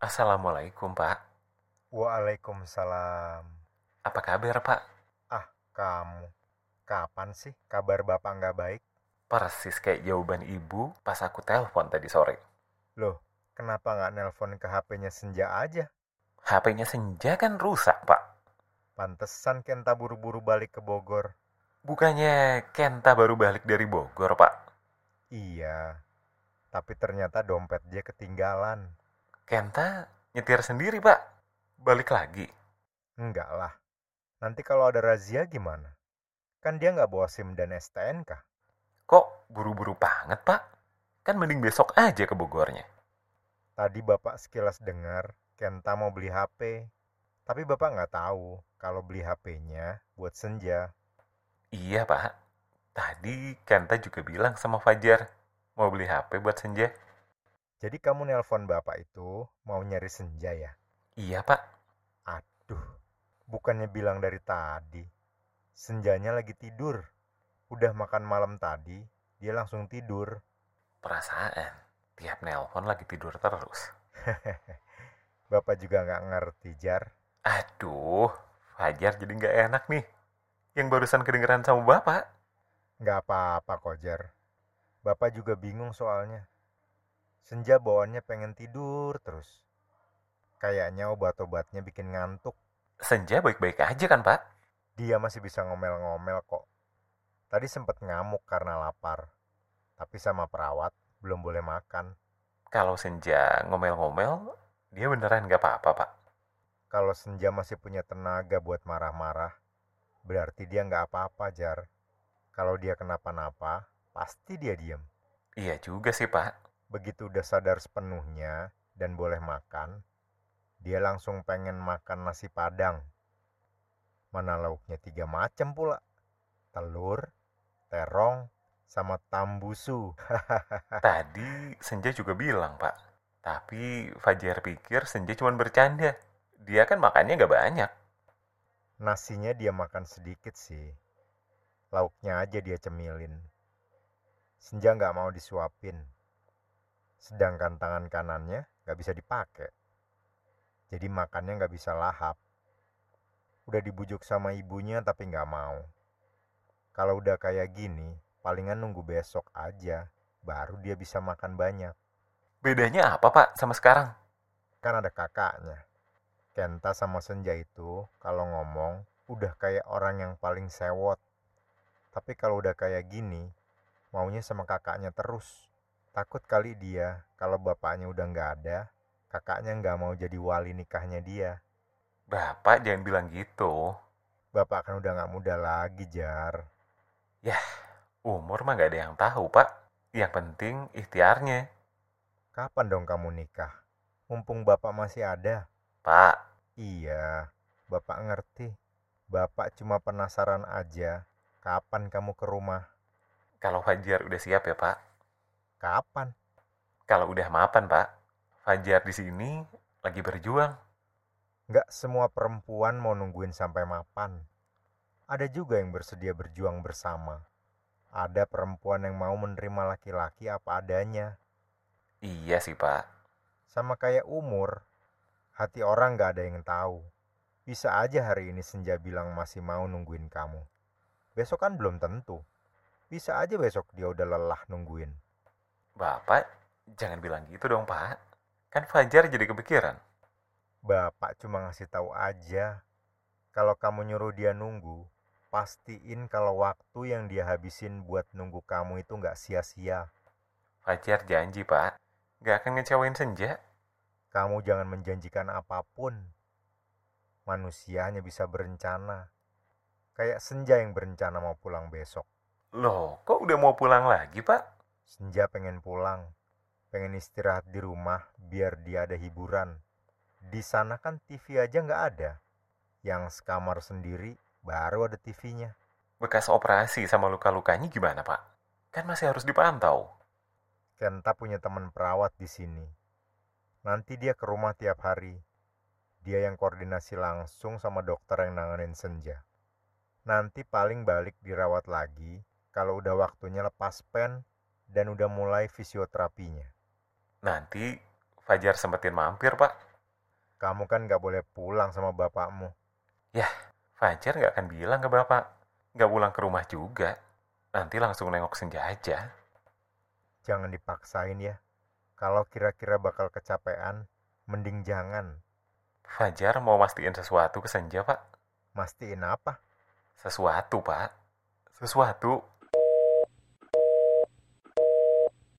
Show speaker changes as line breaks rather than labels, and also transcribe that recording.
Assalamualaikum, Pak.
Waalaikumsalam.
Apa kabar, Pak?
Kamu, kapan sih kabar bapak nggak baik?
Persis kayak jawaban ibu pas aku telepon tadi sore.
Loh, kenapa nggak nelpon ke HP-nya Senja aja?
HP-nya Senja kan rusak, Pak.
Pantesan Kenta buru-buru balik ke Bogor.
Bukannya Kenta baru balik dari Bogor, Pak.
Iya, tapi ternyata dompet dia ketinggalan.
Kenta nyetir sendiri, Pak. Balik lagi.
Enggak lah. Nanti kalau ada razia gimana? Kan dia nggak bawa SIM dan STNK.
Kok buru-buru banget, Pak? Kan mending besok aja ke Bogornya.
Tadi bapak sekilas dengar Kenta mau beli HP. Tapi bapak nggak tahu kalau beli HP-nya buat senja.
Iya, Pak. Tadi Kenta juga bilang sama Fajar mau beli HP buat Senja.
Jadi kamu nelpon bapak itu mau nyari senja ya?
Iya, Pak.
Duh, bukannya bilang dari tadi. Senjanya lagi tidur. Udah makan malam tadi, dia langsung tidur.
Perasaan tiap nelpon lagi tidur terus.
Bapak juga nggak ngerti, Jar.
Aduh, Fajar jadi nggak enak nih. Yang barusan kedengeran sama Bapak.
Nggak apa-apa kok, Jar. Bapak juga bingung soalnya. Senja bawaannya pengen tidur terus. Kayaknya obat-obatnya bikin ngantuk.
Senja baik-baik aja kan, Pak?
Dia masih bisa ngomel-ngomel kok. Tadi sempat ngamuk karena lapar. Tapi sama perawat, belum boleh makan.
Kalau Senja ngomel-ngomel, dia beneran nggak apa-apa, Pak.
Kalau Senja masih punya tenaga buat marah-marah, berarti dia nggak apa-apa, Jar. Kalau dia kenapa-napa, pasti dia diam.
Iya juga sih, Pak.
Begitu udah sadar sepenuhnya dan boleh makan, dia langsung pengen makan nasi padang. Mana lauknya tiga macam pula. Telur, terong, sama tambusu.
Tadi Senja juga bilang, Pak. Tapi Fajar pikir Senja cuma bercanda. Dia kan makannya nggak banyak.
Nasinya dia makan sedikit sih. Lauknya aja dia cemilin. Senja nggak mau disuapin. Sedangkan tangan kanannya nggak bisa dipakai. Jadi makannya nggak bisa lahap. Udah dibujuk sama ibunya tapi nggak mau. Kalau udah kayak gini, palingan nunggu besok aja. Baru dia bisa makan banyak.
Bedanya apa, Pak, sama sekarang?
Kan ada kakaknya. Kenta sama Senja itu kalau ngomong udah kayak orang yang paling sewot. Tapi kalau udah kayak gini, maunya sama kakaknya terus. Takut kali dia kalau bapaknya udah nggak ada, kakaknya nggak mau jadi wali nikahnya dia.
Bapak jangan bilang gitu.
Bapak kan udah nggak muda lagi, Jar.
Umur mah nggak ada yang tahu, Pak. Yang penting ikhtiarnya.
Kapan dong kamu nikah? Mumpung bapak masih ada.
Pak,
Iya, bapak ngerti. Bapak cuma penasaran aja. Kapan kamu ke rumah?
kalau Fajar udah siap ya, Pak.
Kapan?
Kalau udah mapan, Pak. Fajar di sini lagi berjuang.
Nggak semua perempuan mau nungguin sampai mapan. Ada juga yang bersedia berjuang bersama. Ada perempuan yang mau menerima laki-laki apa adanya.
Iya sih, Pak.
Sama kayak umur, hati orang nggak ada yang tahu. Bisa aja hari ini Senja bilang masih mau nungguin kamu. Besok kan belum tentu. Bisa aja besok dia udah lelah nungguin.
Bapak, jangan bilang gitu dong, Pak. Kan Fajar jadi kepikiran.
Bapak cuma ngasih tahu aja. Kalau kamu nyuruh dia nunggu, pastiin kalau waktu yang dia habisin buat nunggu kamu itu nggak sia-sia.
Fajar janji, Pak. Gak akan ngecewain Senja.
Kamu jangan menjanjikan apapun. Manusia hanya bisa berencana. Kayak Senja yang berencana mau pulang besok.
Loh, kok udah mau pulang lagi, Pak?
Senja pengen pulang, pengen istirahat di rumah biar dia ada hiburan. Di sana kan TV aja nggak ada. Yang sekamar sendiri baru ada TV-nya.
Bekas operasi sama luka-lukanya gimana, Pak? Kan masih harus dipantau.
Kenta Kan punya teman perawat di sini. Nanti dia ke rumah tiap hari. Dia yang koordinasi langsung sama dokter yang nanganin Senja. Nanti paling balik dirawat lagi kalau udah waktunya lepas pen dan udah mulai fisioterapinya.
Nanti Fajar sempetin mampir, Pak.
Kamu kan gak boleh pulang sama bapakmu.
Fajar nggak akan bilang ke bapak. Nggak pulang ke rumah juga. Nanti langsung nengok senja aja.
Jangan dipaksain ya. Kalau kira-kira bakal kecapean, mending jangan.
Fajar mau mastiin sesuatu ke senja, Pak.
Mastiin apa?
Sesuatu, Pak. Sesuatu